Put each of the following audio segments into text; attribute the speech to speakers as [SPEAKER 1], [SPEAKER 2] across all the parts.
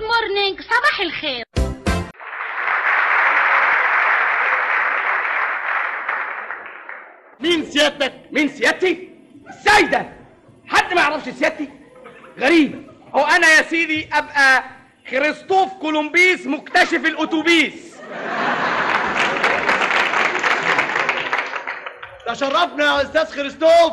[SPEAKER 1] خريج صباح الخير
[SPEAKER 2] مين سيادتك؟
[SPEAKER 3] مين سيادتي؟ ازاي ده؟ حد ما يعرفش سيادتي؟ غريبة هو أنا يا سيدي أبقى كريستوف كولومبيس مكتشف الأتوبيس
[SPEAKER 2] تشرفنا يا استاذ خريستوف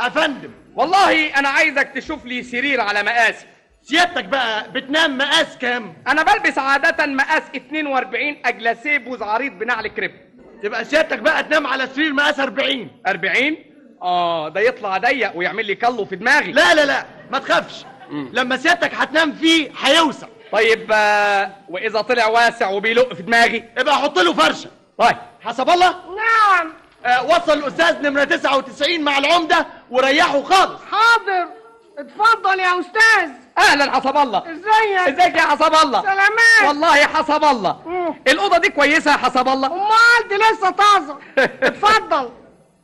[SPEAKER 2] افندم
[SPEAKER 3] والله أنا عايزك تشوف لي سرير على مقاسي
[SPEAKER 2] سيادتك بقى بتنام مقاس كام؟
[SPEAKER 3] أنا بلبس عادة مقاس 42 أجلاسيه بوز عريض بنعل كريب
[SPEAKER 2] تبقى سيادتك بقى تنام على سرير مقاس 40
[SPEAKER 3] 40 آه ده يطلع ضيق ويعمل لي كلو في دماغي
[SPEAKER 2] لا لا لا ما تخافش لما سيادتك هتنام فيه هيوسع
[SPEAKER 3] طيب آه، وإذا طلع واسع وبيلق في دماغي
[SPEAKER 2] ابقى حط له فرشه
[SPEAKER 3] طيب
[SPEAKER 2] حسب الله
[SPEAKER 1] نعم
[SPEAKER 2] آه وصل الاستاذ نمره 99 مع العمده وريحه خالص
[SPEAKER 4] حاضر اتفضل يا استاذ
[SPEAKER 3] أهلا حسب الله
[SPEAKER 4] ازيك
[SPEAKER 3] ازيك يا حسب الله
[SPEAKER 4] سلامات.
[SPEAKER 3] والله حسب الله
[SPEAKER 4] مم.
[SPEAKER 3] الأوضة دي كويسة يا حسب الله
[SPEAKER 4] امال دي لسه طازه اتفضل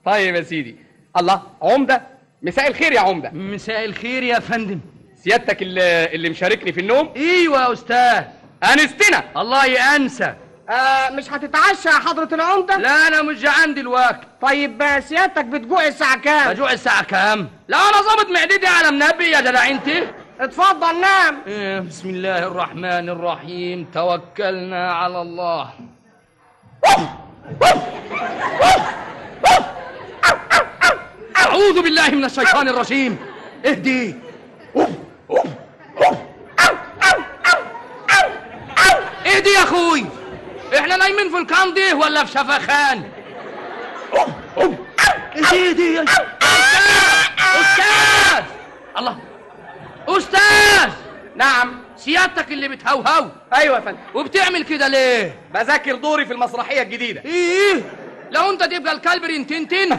[SPEAKER 3] طيب يا سيدي الله عمده مساء الخير يا عمده
[SPEAKER 5] مساء الخير يا فندم
[SPEAKER 3] سيادتك اللي, اللي مشاركني في النوم
[SPEAKER 2] إيوه
[SPEAKER 5] ايوه يا استاذ
[SPEAKER 3] انستنا
[SPEAKER 5] الله يأنسى
[SPEAKER 4] آه مش هتتعشى يا حضره العمده
[SPEAKER 5] لا انا مش جعان دلوقتي
[SPEAKER 4] طيب آه، سيادتك بتجوع الساعه كام
[SPEAKER 5] بجوع الساعة كام لا انا ظابط معدتي على منبي يا جدع انت
[SPEAKER 4] اتفضل نام
[SPEAKER 5] إيه، بسم الله الرحمن الرحيم توكلنا على الله أعوذ بالله من الشيطان الرجيم اهدي اهدي يا اخوي احنا نايمين في الكاندي ولا في شفخان
[SPEAKER 2] ايدي يا
[SPEAKER 5] استاذ الله استاذ
[SPEAKER 3] نعم
[SPEAKER 5] سيادتك اللي بتهوهو
[SPEAKER 3] ايوه يا فندم
[SPEAKER 5] وبتعمل كده ليه؟
[SPEAKER 3] بذاكر دوري في المسرحيه الجديده
[SPEAKER 5] ايه ايه؟ لو انت تبقى الكلب رنتنتن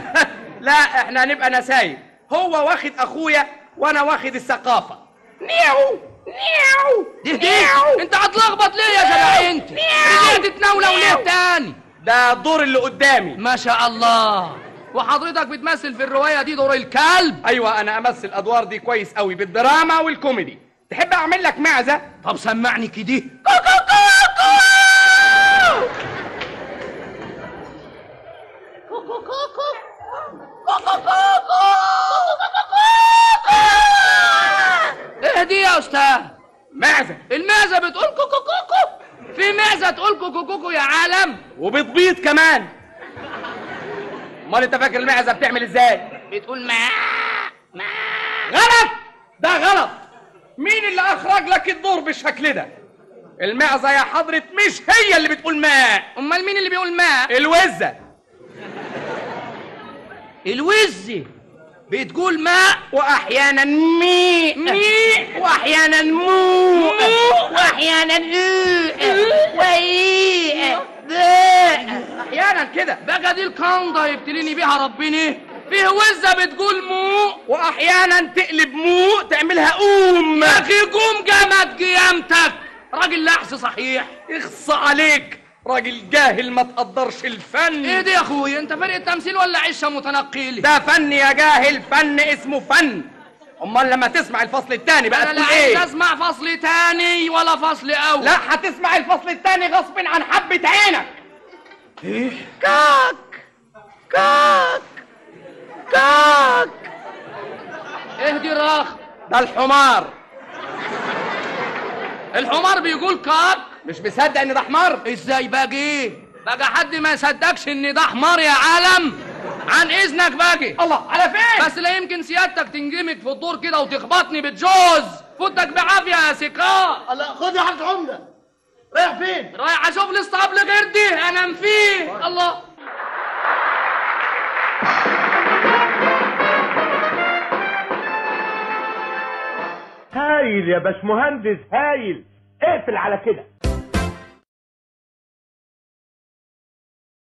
[SPEAKER 3] لا احنا هنبقى نسايب هو واخد اخويا وانا واخد الثقافه نيو نيو
[SPEAKER 5] دي دي انت هتلخبط ليه يا جدع انت؟ ليه تتناوله وليه تاني؟
[SPEAKER 3] ده الدور اللي قدامي
[SPEAKER 5] ما شاء الله وحضرتك بتمثل في الروايه دي دور الكلب
[SPEAKER 3] ايوه انا امثل الادوار دي كويس قوي بالدراما والكوميدي تحب اعمل لك معزه
[SPEAKER 5] طب سمعني كده اهدي يا استاذ
[SPEAKER 3] معزه
[SPEAKER 5] المعزه بتقول كوكو كوكو في معزه تقول كوكو كوكو يا عالم
[SPEAKER 3] وبتبيض كمان امال انت فاكر المعزه بتعمل ازاي
[SPEAKER 5] بتقول ما ما
[SPEAKER 3] غلط ده غلط مين اللي اخرج لك الدور بالشكل ده المعزه يا حضره مش هي اللي بتقول ماء
[SPEAKER 5] امال مين اللي بيقول ما
[SPEAKER 3] الوزه
[SPEAKER 5] الوزي بتقول ماء
[SPEAKER 3] واحيانا مي مي واحيانا مو واحيانا وايه احيانا كده
[SPEAKER 5] بقى دي الكنده يبتليني بيها ربنا فيه وزه بتقول مو
[SPEAKER 3] واحيانا تقلب مو تعملها قوم
[SPEAKER 5] يا اخي قوم جامد قيامتك راجل لحس صحيح
[SPEAKER 3] اخص عليك راجل جاهل ما تقدرش الفن
[SPEAKER 5] ايه دي يا اخويا انت فرقه تمثيل ولا عشه متنقله
[SPEAKER 3] ده فن يا جاهل فن اسمه فن امال لما تسمع الفصل الثاني بقى
[SPEAKER 5] انا لا
[SPEAKER 3] تقول
[SPEAKER 5] عايز
[SPEAKER 3] ايه
[SPEAKER 5] اسمع فصل تاني ولا فصل اول
[SPEAKER 3] لا هتسمع الفصل الثاني غصب عن حبة عينك
[SPEAKER 5] اهدي راخ
[SPEAKER 3] ده الحمار
[SPEAKER 5] الحمار بيقول كاك
[SPEAKER 3] مش مصدق ان ده حمار
[SPEAKER 5] ازاي باجي بقى حد ما يصدقش ان ده حمار يا عالم عن اذنك باجي
[SPEAKER 3] الله على فين
[SPEAKER 5] بس لا يمكن سيادتك تنجمد في الدور كده وتخبطني بالجوز فوتك بعافيه يا سيكار
[SPEAKER 2] الله خد يا حضره العمده رايح فين؟
[SPEAKER 5] رايح اشوف لسه قبل غير دي انام فيه الله
[SPEAKER 6] هايل يا باشمهندس هايل اقفل على كده